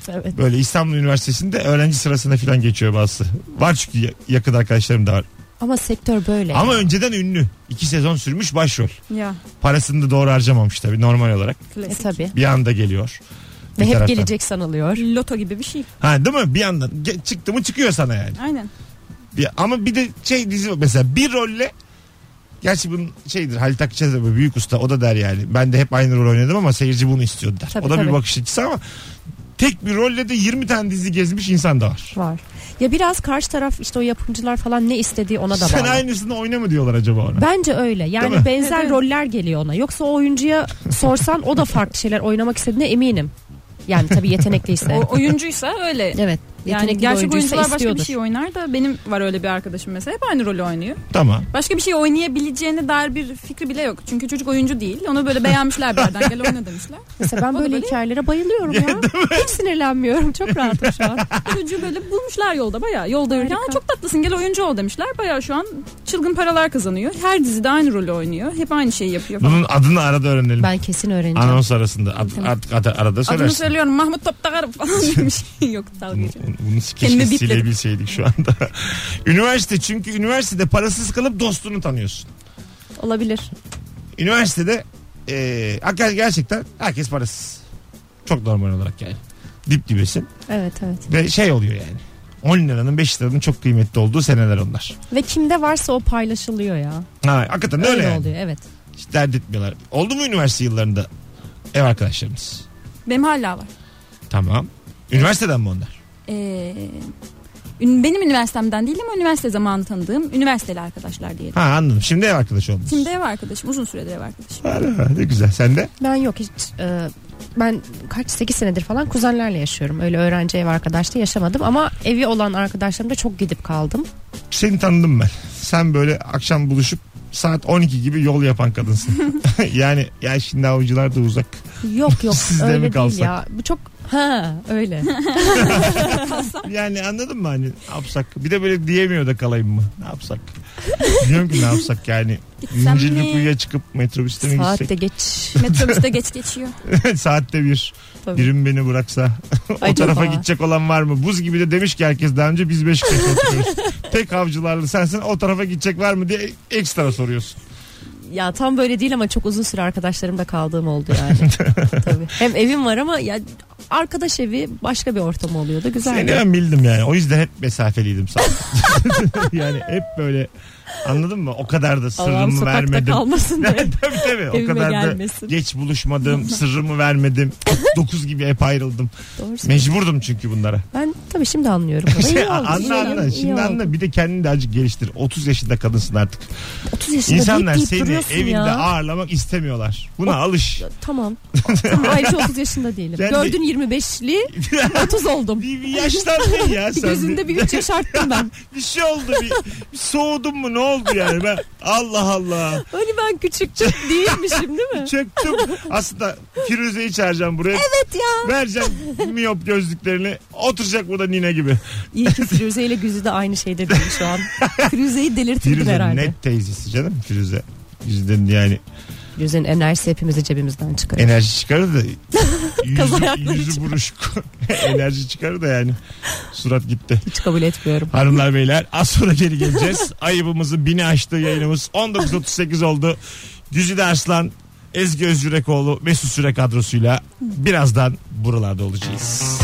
Evet.
Böyle İstanbul Üniversitesi'nde öğrenci sırasına falan geçiyor bazısı. Var çünkü ya- yakın arkadaşlarım da var.
Ama sektör böyle.
Ama önceden ünlü. İki sezon sürmüş başrol.
Ya
Parasını da doğru harcamamış tabii normal olarak.
E
klasik.
tabii.
Bir anda geliyor.
Ve
Bir
hep
taraftan.
gelecek sanılıyor.
Loto gibi bir şey.
Ha değil mi? Bir yandan ge- çıktı mı çıkıyor sana yani.
Aynen.
Bir, ama bir de şey dizi var. mesela bir rolle Gerçi bunun şeydir Halit Akçay da böyle büyük usta o da der yani. Ben de hep aynı rol oynadım ama seyirci bunu istiyordu der.
Tabii,
o da bir
tabii.
bakış açısı ama tek bir rolle de 20 tane dizi gezmiş insan da var.
Var. Ya biraz karşı taraf işte o yapımcılar falan ne istediği ona da
Sen
bağlı.
aynısını oyna mı diyorlar acaba ona?
Bence öyle.
Değil mi?
Yani benzer
Evet.
roller geliyor ona. Yoksa o oyuncuya sorsan o da farklı şeyler oynamak istediğine eminim. Yani tabii yetenekliyse.
O oyuncuysa öyle.
evet.
Yani
Yetenekli
gerçek
oyuncuysa
oyuncular başka bir
istiyordur.
şey oynar da benim var öyle bir arkadaşım mesela hep aynı rolü oynuyor.
Tamam.
Başka bir şey oynayabileceğine dair bir fikri bile yok. Çünkü çocuk oyuncu değil. Onu böyle beğenmişler bir yerden gel oyna demişler.
Mesela ben
O da
böyle
böyle-
hikayelere bayılıyorum ya. Hiç sinirlenmiyorum. Çok rahatım şu an.
Çocuğu böyle bulmuşlar yolda bayağı. Yolda yürürken
Harika.
"Aa, çok tatlısın gel oyuncu ol demişler. Bayağı şu an çılgın paralar kazanıyor. Her dizide aynı rolü oynuyor. Hep aynı şeyi yapıyor falan.
Bunun adını arada öğrenelim.
Ben kesin öğreneceğim.
Anons arasında ad, ad- ad- arada
Adını
söylersin.
söylüyorum Mahmut Toptagar falan demiş. yok dalga
Bunu,
geçiyor.
bunu keşke
Kendimi bipledim.
silebilseydik şu anda. Üniversite çünkü üniversitede parasız kalıp dostunu tanıyorsun.
Olabilir.
Üniversitede e, hakikaten gerçekten herkes parasız. Çok normal olarak yani. Dip dibesin.
Evet evet.
Ve şey oluyor yani. 10 liranın 5 liranın çok kıymetli olduğu seneler onlar.
Ve kimde varsa o paylaşılıyor ya.
Ha, hakikaten de öyle,
Öyle,
yani.
oluyor evet.
Hiç dert etmiyorlar. Oldu mu üniversite yıllarında ev arkadaşlarımız?
Benim hala var.
Tamam. Üniversiteden mi onlar?
Ee, ün- benim üniversitemden değil ama üniversite zamanı tanıdığım üniversiteli arkadaşlar diyelim.
Ha anladım. Şimdi ev arkadaşı olmuş.
Şimdi ev arkadaşım uzun süredir ev arkadaşım.
Ha, ne güzel. Sen de?
Ben yok hiç e, ben kaç 8 senedir falan kuzenlerle yaşıyorum. Öyle öğrenci ev arkadaşlığı yaşamadım ama evi olan arkadaşlarımda çok gidip kaldım.
Seni tanıdım ben. Sen böyle akşam buluşup saat 12 gibi yol yapan kadınsın. yani ya şimdi avcılar da uzak.
Yok yok
Sizde mi
öyle değil
kalsak?
ya. Bu çok Ha öyle.
Yani anladın mı hani ne yapsak? Bir de böyle diyemiyor da kalayım mı? Ne yapsak? Bilmiyorum ki ne yapsak yani.
Gitsem
İncirli
mi?
kuyuya çıkıp metrobüste mi
Saatte
gitsek?
geç.
Metrobüste geç geçiyor.
Saatte bir.
Tabii.
Birim beni bıraksa. o
Acaba?
tarafa gidecek olan var mı? Buz gibi de demiş ki herkes daha önce biz beş kişi oturuyoruz. Tek avcılarlı sensin o tarafa gidecek var mı diye ekstra soruyorsun.
Ya tam böyle değil ama çok uzun süre arkadaşlarımda kaldığım oldu yani. Tabii. Hem evim var ama ya arkadaş evi başka bir ortam oluyordu.
Seni
Güzeldi.
ben bildim yani. O yüzden hep mesafeliydim sana. yani hep böyle anladın mı? O kadar da
Allah'ım
sırrımı
sokakta
vermedim.
kalmasın da
tabii tabii. O
evime
kadar da
gelmesin.
geç buluşmadım, sırrımı vermedim. 9 gibi hep ayrıldım.
Doğru söylüyorsun.
Mecburdum çünkü bunlara.
Ben tabii şimdi anlıyorum. bunu. İyi oldu, iyi
anla anla.
oldu, iyi
Şey, Şimdi
oldu.
anla. Bir de kendini de azıcık geliştir. 30 yaşında kadınsın artık.
30 yaşında
İnsanlar
deyip deyip
seni
duruyorsun
evinde
ya.
ağırlamak istemiyorlar. Buna
O-
alış.
Tamam. tamam. Ayrıca 30 yaşında değilim.
Yani-
Gördün 25'li 30 oldum.
bir, bir yaşlandın ya sen.
Gözünde bir 3 yaş arttım ben.
bir şey oldu. Bir, bir soğudun mu ne oldu yani? Ben, Allah Allah.
Hani ben küçükçük değilmişim değil mi?
Çöktüm. Aslında Firuze'yi çağıracağım buraya.
evet ya.
Vereceğim miyop gözlüklerini. Oturacak burada nine gibi.
İyi ki Firuze ile Güzide de aynı şeyde değil şu an. Firuze'yi delirtirdim
Firuze
herhalde.
net teyzesi canım Firuze. Yüzden yani
Firuze'nin enerjisi hepimizi cebimizden çıkarır.
enerji çıkarır da
Kaz
yüzü,
ayakları
yüzü buruşuk. enerji çıkarır da yani surat gitti.
Hiç kabul etmiyorum.
Hanımlar beyler az sonra geri geleceğiz. Ayıbımızı bini aştığı yayınımız 19.38 oldu. Güzide Arslan, Ezgi Özgürekoğlu, Mesut Süre kadrosuyla birazdan buralarda olacağız.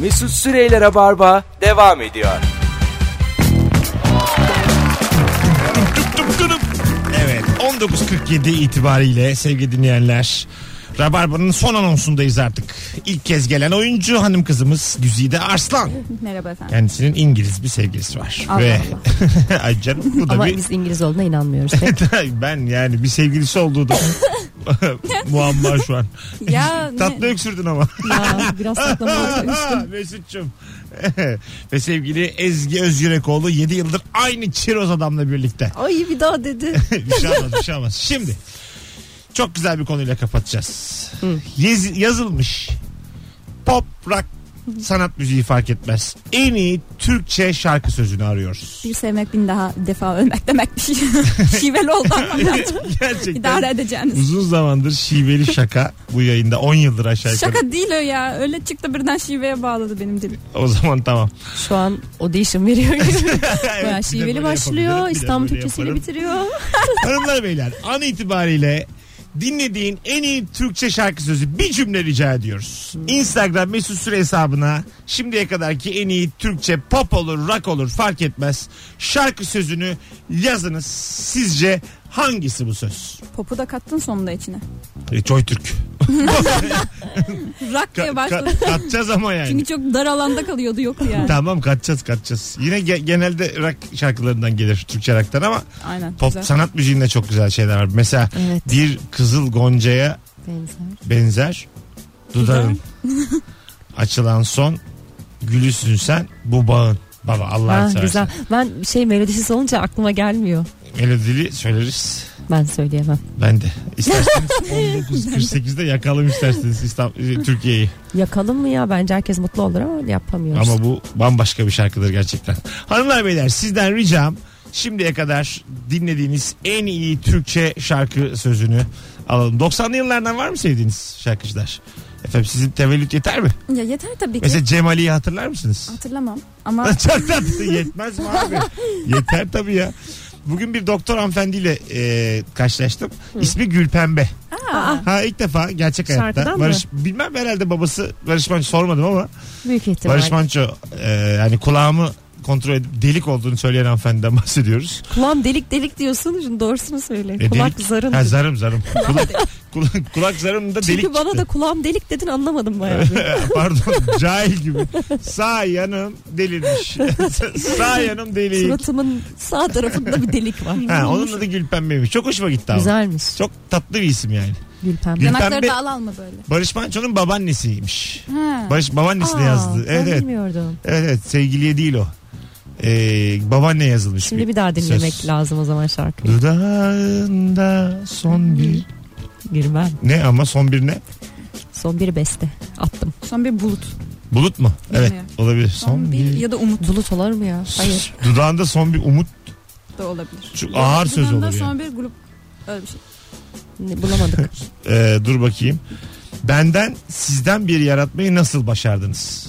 Mesut Süreyler'e barba devam ediyor.
Tıp tıp tıp. Evet 19.47 itibariyle sevgili dinleyenler Rabarba'nın son anonsundayız artık. İlk kez gelen oyuncu hanım kızımız Güzide Arslan.
Merhaba efendim.
Kendisinin İngiliz bir sevgilisi var.
Allah
Ve Ay canım bu da
Ama
bir
biz İngiliz olduğuna inanmıyoruz. Hep.
ben yani bir sevgilisi olduğu da muamma şu an.
Ya ne-
Tatlı öksürdün ama.
ya, biraz saklamalar.
Mesut'cum. Ve sevgili Ezgi Özgürekoğlu 7 yıldır aynı çiroz adamla birlikte.
Ay bir daha dedi.
bir şey olmaz bir şey olmaz. Şimdi çok güzel bir konuyla kapatacağız. Yez- yazılmış pop rock sanat müziği fark etmez. En iyi Türkçe şarkı sözünü arıyoruz.
bir sevmek bin daha defa ölmek demek bir şey. Şiveli oldu ama birazcık idare
Gerçekten
edeceğiniz.
uzun zamandır şiveli şaka bu yayında 10 yıldır aşağı yukarı.
Şaka değil o ya. Öyle çıktı birden şiveye bağladı benim dilim.
O zaman tamam.
Şu an audition veriyor gibi.
Evet,
Bayağı
bir de
şiveli
böyle
başlıyor.
yapabilirim, bir de
İstanbul
böyle
Türkçesiyle
yaparım.
bitiriyor.
Hanımlar beyler an itibariyle dinlediğin en iyi Türkçe şarkı sözü bir cümle rica ediyoruz. Instagram mesut süre hesabına şimdiye kadarki en iyi Türkçe pop olur rock olur fark etmez. Şarkı sözünü yazınız. Sizce hangisi bu söz?
Popu da kattın sonunda içine.
E, Joy Türk.
Rak
Ka-
diye başladı.
ka- katacağız ama yani.
Çünkü çok dar alanda kalıyordu yok yani.
Tamam katacağız katacağız. Yine ge- genelde rock şarkılarından gelir Türkçe rock'tan ama
Aynen.
pop
güzel.
sanat müziğinde çok güzel şeyler var. Mesela
Evet.
bir kızıl goncaya
Benzer.
benzer dudağın açılan son gülüsün sen bu bağın baba Allah'ın
Ha,
seversen
Ah, güzel. Ben şey melodisiz olunca aklıma gelmiyor.
melodili söyleriz
Ben söyleyemem.
ben de isterseniz 1948'de yakalım isterseniz İstan- e, Türkiye'yi
Yakalım mı ya? Bence herkes mutlu olur ama yapamıyoruz.
ama bu bambaşka bir şarkıdır gerçekten hanımlar beyler sizden ricam şimdiye kadar dinlediğiniz en iyi Türkçe şarkı sözünü alalım 90'lı yıllardan var mı sevdiğiniz şarkıcılar efendim sizin tevellüt yeter mi
Ya yeter tabii ki.
mesela Cem Ali'yi hatırlar mısınız
Hatırlamam ama
Çok tatlı. Yetmez mi abi? Yeter tabii ya. Bugün bir doktor hanımefendiyle e, karşılaştım. İsmi Gülpembe.
Aa,
Ha ilk defa gerçek hayatta.
Şarkıdan mı?
Barış, Bilmem herhalde babası Barış Manço sormadım ama
Büyük ihtimal.
Barış Manço e, yani kulağımı kontrol edip delik olduğunu söyleyen hanımefendiden bahsediyoruz.
Kulağım delik delik diyorsun. Şimdi doğrusunu söyle.
E,
Kulak
delik-
zarın.
Ha, zarım zarım. Kulak, kulak, kulak zarımda delik
Çünkü bana
çıktı.
da kulağım delik dedin anlamadım bayağı. bir.
Pardon cahil gibi. Sağ yanım delirmiş. Sağ yanım delik.
Suratımın sağ tarafında bir delik var.
Ha, onun adı Gülpembe'ymiş. Çok hoşuma gitti ama.
Güzelmiş.
Çok tatlı bir isim yani.
Gülpem.
Gül-
yanakları
Pembe-
da al alma böyle.
Barış Manço'nun babaannesiymiş.
Ha.
Barış babaannesine yazdı. Evet
ben
evet.
bilmiyordum.
Evet evet. Sevgiliye değil o. Ee, babaanne yazılmış.
Şimdi bir daha dinlemek
söz.
lazım o zaman şarkıyı.
Dudağında son bir
Girmem.
ne ama son bir ne?
Son bir beste attım.
Son bir bulut.
Bulut mu? Evet
Bilmiyorum.
olabilir.
Son, bir, ya da umut
Bulut olur mu ya? Hayır.
Dudağında son bir umut
da olabilir.
Çok ağır söz
Bundan da
olur yani.
Son bir grup öyle bir şey.
Ne- Bulamadık.
Ee, dur bakayım. Benden sizden bir yaratmayı nasıl başardınız?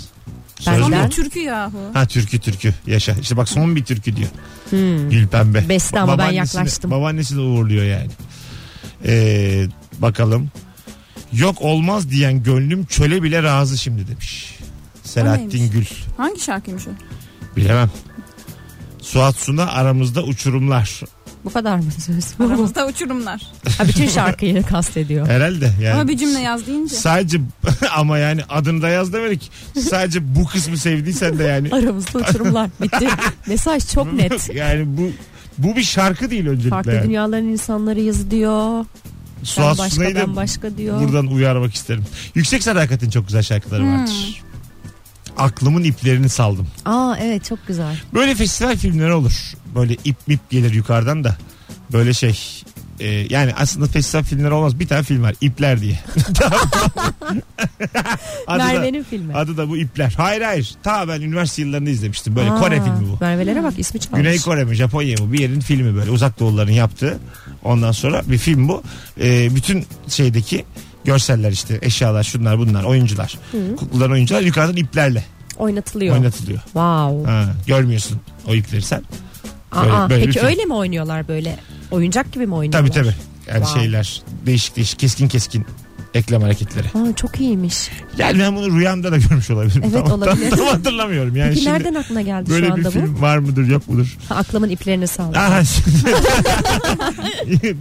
Söz
Benden-
Son
mü?
bir türkü yahu.
Ha türkü türkü yaşa. İşte bak son bir türkü diyor.
Hmm.
Gül pembe.
Beste ama ben
Babaannesini-
yaklaştım.
Babaannesi de uğurluyor yani. Ee, bakalım. Yok olmaz diyen gönlüm çöle bile razı şimdi demiş. Selahattin
neymiş?
Gül.
Hangi şarkıymış o?
Bilemem. Suat Suna aramızda uçurumlar.
Bu kadar mı söz?
Aramızda uçurumlar.
ha, bütün şarkıyı kastediyor.
Herhalde yani.
Ama bir cümle yaz deyince.
Sadece ama yani adını da yaz demedik. Sadece bu kısmı sevdiysen de yani.
Aramızda uçurumlar. Bitti. Mesaj çok net.
yani bu bu bir şarkı değil öncelikle.
Farklı
yani.
dünyaların insanları yaz diyor.
Suat
Ben başka
Sunay'ı da
ben başka diyor.
buradan uyarmak isterim. Yüksek Sadakat'in çok güzel şarkıları
Hmm.
vardır. Aklımın iplerini saldım.
Aa evet çok güzel.
Böyle festival filmleri olur. Böyle ip mip gelir yukarıdan da. Böyle şey e, yani aslında festival filmleri olmaz. Bir tane film var. İpler diye. Tamam, tamam. adı, da,
Merve'nin filmi.
adı da bu İpler. Hayır hayır. Ta ben üniversite yıllarında izlemiştim. Böyle
Aa,
Kore filmi bu.
Merve'lere bak ismi çalmış.
Güney Kore mi Japonya mı bir yerin filmi böyle uzak doğuların yaptığı. Ondan sonra bir film bu. Ee, bütün şeydeki görseller işte eşyalar şunlar bunlar oyuncular. Kuklaların oyuncular yukarıdan iplerle
Oynatılıyor.
oynatılıyor.
Wow.
Ha, görmüyorsun o ipleri sen. Böyle-
Aa,
böyle bir
peki
film.
öyle mi oynuyorlar böyle? Oyuncak gibi mi
Tabii
oynuyorlar?
tabii. Yani
Wow.
şeyler değişik değişik keskin keskin eklem hareketleri.
Aa, çok iyiymiş.
Yani ben bunu rüyamda da görmüş olabilirim.
Evet,
Tam-
olabilir.
Tam, tam hatırlamıyorum yani
Peki
şimdi.
nereden aklına geldi şu
Böyle bir
anda bu?
film var mıdır yok mudur?
Ha, aklımın iplerini sağladı.
Aha şimdi.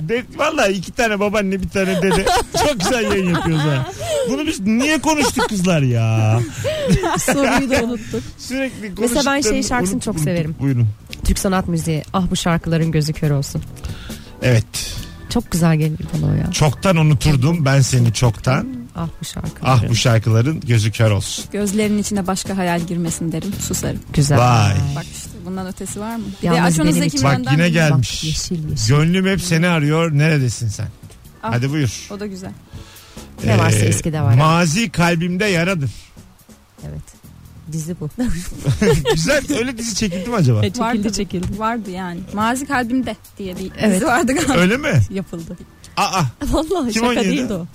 De, vallahi iki tane babaanne bir tane dede. Çok güzel yayın yapıyoruz ha. Bunu biz niye konuştuk kızlar ya?
Soruyu da unuttuk.
Sürekli konuştuk.
Mesela ben şey şarkısını
Unuttuk,
çok
unuttuk.
severim.
Buyurun.
Türk sanat müziği. Ah bu şarkıların gözü kör olsun.
Evet.
Çok güzel gelir bana o ya.
Çoktan unuturdum ben seni çoktan.
Ah bu şarkı.
Ah bu şarkıların gözü kör olsun.
Gözlerinin içine başka hayal girmesin derim. Susarım.
Güzel.
Vay.
Bak işte bundan ötesi var mı? Bir de
Yalnız
aç onu
benim
Zeki
için.
Bak
Müren'den
yine
dinle.
gelmiş.
Bak, yeşil, yeşil.
Gönlüm hep seni arıyor. Neredesin sen?
Ah.
Hadi buyur. Ee,
O da güzel.
E, Ne varsa eskide var.
Mazi kalbimde yaradır.
Evet. Dizi bu.
Güzel. Öyle dizi çekildi mi acaba?
çekildi
Vardı.
çekildi.
Vardı yani. Mazi kalbimde diye bir
Evet.
dizi vardı galiba.
Öyle mi?
Yapıldı.
Aa. Kim
Vallahi şaka
oynuyordu?
değildi o.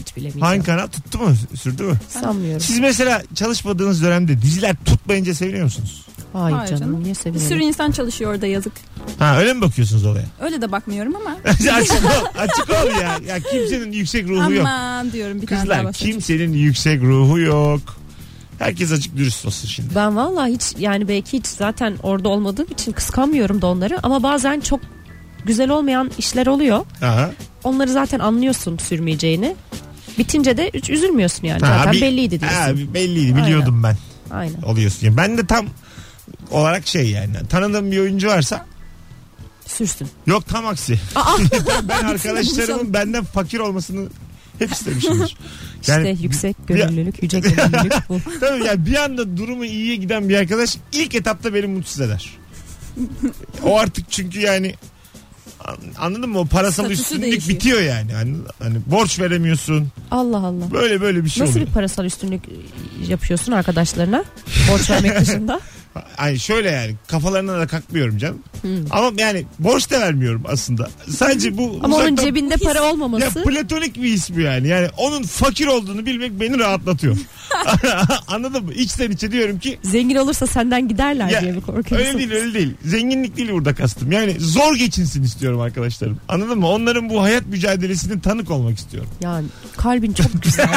Hiç bilemeyeceğim.
Hangi kanal tuttu mu? Sürdü mü?
Sanmıyorum.
Siz mesela çalışmadığınız dönemde diziler tutmayınca seviniyor musunuz?
Hayır,
Hayır
canım,
canım.
niye
Bir sürü
seviyorum?
insan çalışıyor orada yazık.
Ha öyle mi bakıyorsunuz olaya?
Öyle de bakmıyorum ama.
açık ol, açık ol ya. Ya kimsenin yüksek ruhu yok.
Aman diyorum bir tane daha
Kızlar
bahsedeyim.
kimsenin yüksek ruhu yok. Herkes açık dürüst olsun şimdi.
Ben vallahi hiç yani belki hiç zaten orada olmadığım için kıskanmıyorum da onları ama bazen çok güzel olmayan işler oluyor.
Aha.
Onları zaten anlıyorsun sürmeyeceğini. Bitince de hiç üzülmüyorsun yani.
Ha,
zaten
bir-
belliydi diyorsun.
Ha, belliydi biliyordum
Aynen.
ben oluyorsun. Yani ben de tam olarak şey yani tanıdığım bir oyuncu varsa
Sürsün.
yok tam aksi.
Aa,
Ben arkadaşlarımın benden fakir olmasını hep istemişimdir. Yani
işte yüksek gönüllülük, yüce gönüllülük bu.
Tabii yani bir anda durumu iyiye giden bir arkadaş ilk etapta beni mutsuz eder. o artık çünkü yani an- anladın mı? O parasal
Statüsü
üstünlük
değişiyor.
bitiyor yani. Hani, hani borç veremiyorsun.
Allah Allah.
Böyle böyle bir şey
Nasıl bir
oluyor.
parasal üstünlük e, yapıyorsun arkadaşlarına? Borç vermek dışında.
Ay şöyle yani kafalarına da kalkmıyorum canım.
Hmm.
Ama yani borç da vermiyorum aslında. Sadece bu
Ama onun
uzaktan-
cebinde para
ya
olmaması.
platonik bir his bu yani. Yani onun fakir olduğunu bilmek beni rahatlatıyor. Anladın mı? İçten içe diyorum ki
Zengin olursa senden giderler
Ya,
diye mi korkuyorsun?
Öyle değil öyle değil. Zenginlik değil burada kastım. Yani zor geçinsin istiyorum arkadaşlarım. Anladın mı? Onların bu hayat mücadelesinin tanık olmak istiyorum.
Ya kalbin çok güzel.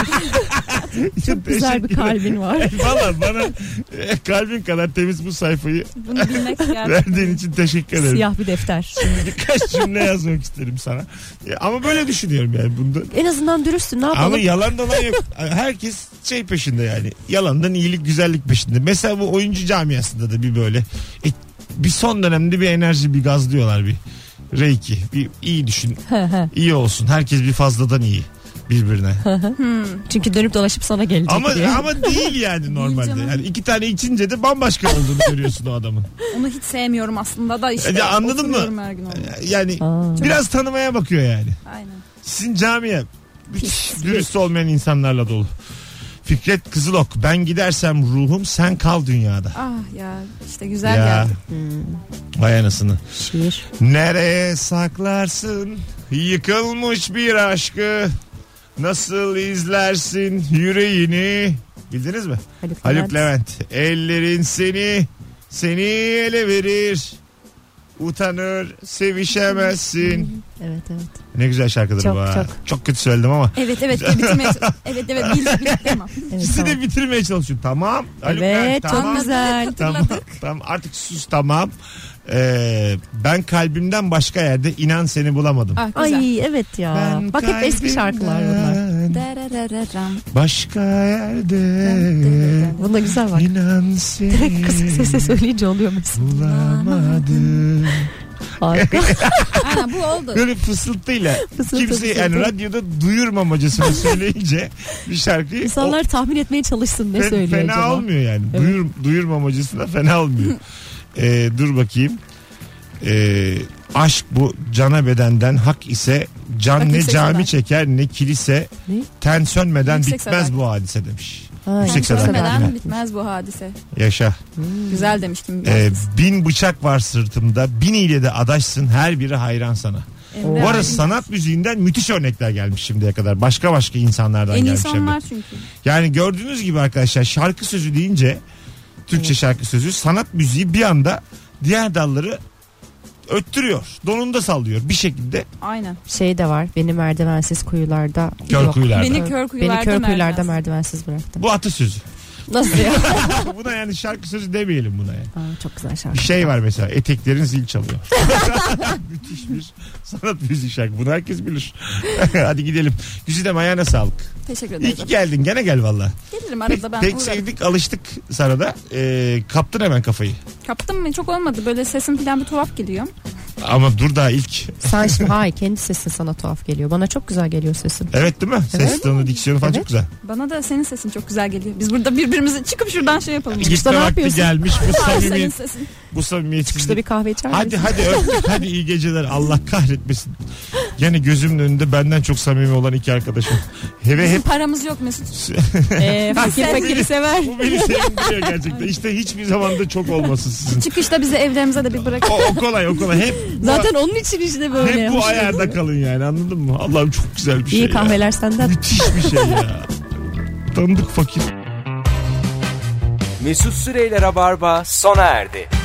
çok güzel bir kalbin var.
Valla bana e, kalbin kadar temiz bu sayfayı
Bunu bilmek gerçekten.
verdiğin için teşekkür ederim.
Siyah bir defter.
Birkaç cümle yazmak isterim sana. E, ama böyle düşünüyorum yani bunda.
En azından dürüstsün ne yapalım?
Ama yalan dolan yok. Herkes şey peşinde yani. Yalandan iyilik güzellik peşinde. Mesela bu oyuncu camiasında da bir böyle. e, bir son dönemde bir enerji bir gaz diyorlar bir. Reiki. Bir iyi düşün.
Hı hı.
iyi olsun. Herkes bir fazladan iyi birbirine.
Hmm.
Çünkü dönüp dolaşıp sana gelecek
ama
diye.
ama değil yani normalde.
canım.
Yani iki tane içince de bambaşka olduğunu görüyorsun o adamın.
Onu hiç sevmiyorum aslında da işte.
E, Ya anladın mı?
oturuyorum Her gün onunla.
Yani
Aa.
biraz tanımaya bakıyor yani.
Aynen.
Sizin camiye Müthiş dürüst olmayan insanlarla dolu. Fikret Kızılok ben gidersem ruhum sen kal dünyada.
Ah ya işte güzel
Ya.
geldi.
Vay anasını.
Hmm, Şiir.
Nereye saklarsın yıkılmış bir aşkı? Nasıl izlersin yüreğini? Bildiniz mi?
Haluk,
Haluk Levent. Ellerin seni, seni ele verir. Utanır, sevişemezsin.
Evet evet.
Ne güzel şarkıdır
Çok,
bu ha.
çok.
Çok kötü söyledim ama.
Evet evet diye bitirmeye çalış- Evet evet bildik bildik tamam.
evet
İkisi
tamam.
de bitirmeye çalışıyorum. Tamam. Haluk
Evet,
Levent,
çok
tamam.
Güzel.
Tamam, tamam artık sus tamam. Ee, ben kalbimden başka yerde inan seni bulamadım.
Ah güzel.
Ay evet ya.
Ben
Bak hep eski şarkılar bunlar.
kalbimden
Dararararam.
Başka yerde
Bunda güzel bak.
inan seni
Kısık sesle söyleyince oluyor mesela.
bulamadım.
Harika.
Aynen bu oldu.
Böyle fısıltıyla
Fısıltı,
kimse yani
fısıltı.
radyoda duyurmam acısını söyleyince bir şarkıyı
İnsanlar tahmin etmeye çalışsın ne
Fe-
söylüyor
fena
acaba.
olmuyor yani.
Evet.
Duyur, duyurmamacısına fena olmuyor. Ee, dur bakayım. Ee, aşk bu cana bedenden hak ise can
Hak
ne
yüksek
cami
seden.
çeker ne kilise
Ne?
ten sönmeden
Yüksek
bitmez
seden.
bu hadise demiş.
Ha,
Yüksek
yüksek
seden.
seden.
Sönmeden
Aynen.
bitmez bu hadise.
Yaşa.
Güzel demiş kim bilir.
Ee, bin bıçak var sırtımda bin ile de adaşsın her biri hayran sana.
Emre
Bu arada
Aydın.
sanat müziğinden müthiş örnekler gelmiş şimdiye kadar. Başka başka insanlardan
En iyi
gelmiş. hem de.
insanlar çünkü.
Yani gördüğünüz gibi arkadaşlar şarkı sözü deyince Türkçe şarkı sözü sanat müziği bir anda diğer dalları öttürüyor. Donunda sallıyor bir şekilde
Aynen.
Şey de var. Beni merdivensiz kuyularda.
kör
yok.
kuyularda.
Beni
Kör-
kör kuyularda
Beni kör kuyularda
merdivensiz.
merdivensiz bıraktı.
Bu atasözü.
Nasıl ya?
buna yani şarkı sözü demeyelim buna yani.
Aa, çok güzel şarkı.
Bir şey var mesela eteklerin zil çalıyor. Müthiş bir sanat müziği şarkı. Bunu herkes bilir. Hadi gidelim. Güzide ayağına sağlık.
Teşekkür
İyi
ederiz.
ki geldin. Gene gel valla.
Gelirim
Pek,
arada ben.
pek
uğrarım.
sevdik alıştık sana da. Ee, kaptın hemen kafayı.
Kaptım mı? Çok olmadı. Böyle sesim falan bir tuhaf geliyor.
Ama dur daha ilk.
Sen şimdi hayır kendi sesin sana tuhaf geliyor. Bana çok güzel geliyor sesin.
Evet değil mi? Ses
Evet.
tonu, diksiyonu falan
Evet.
çok güzel.
Bana da senin sesin çok güzel geliyor. Biz burada birbirimizi çıkıp şuradan şey yapalım.
Gitme
ne
vakti
yapıyorsun?
gelmiş bu
Ay, senin
samimiyet.
sesin.
bu
İşte
samimiyetsizlik.
bir kahve içer
Hadi
misin?
hadi öptük. hadi iyi geceler. Allah kahretmesin. Yani gözümün önünde benden çok samimi olan iki arkadaşım. Heve
Bizim
hep
paramız yok Mesut.
Ee, fakir
Sen
fakiri
beni-
sever.
bu beni sevindiriyor gerçekten. İşte hiçbir zaman da çok olmasın sizin.
Çıkışta bizi evlerimize de bir bırak.
O, o kolay o kolay. Hep bu,
Zaten onun için işte böyle.
hep bu
yapmış.
ayarda kalın yani anladın mı? Allah'ım çok güzel bir şey.
İyi
ya.
kahveler senden.
Müthiş bir şey ya. Tanıdık fakir.
Mesut Süreyler'e barba sona erdi.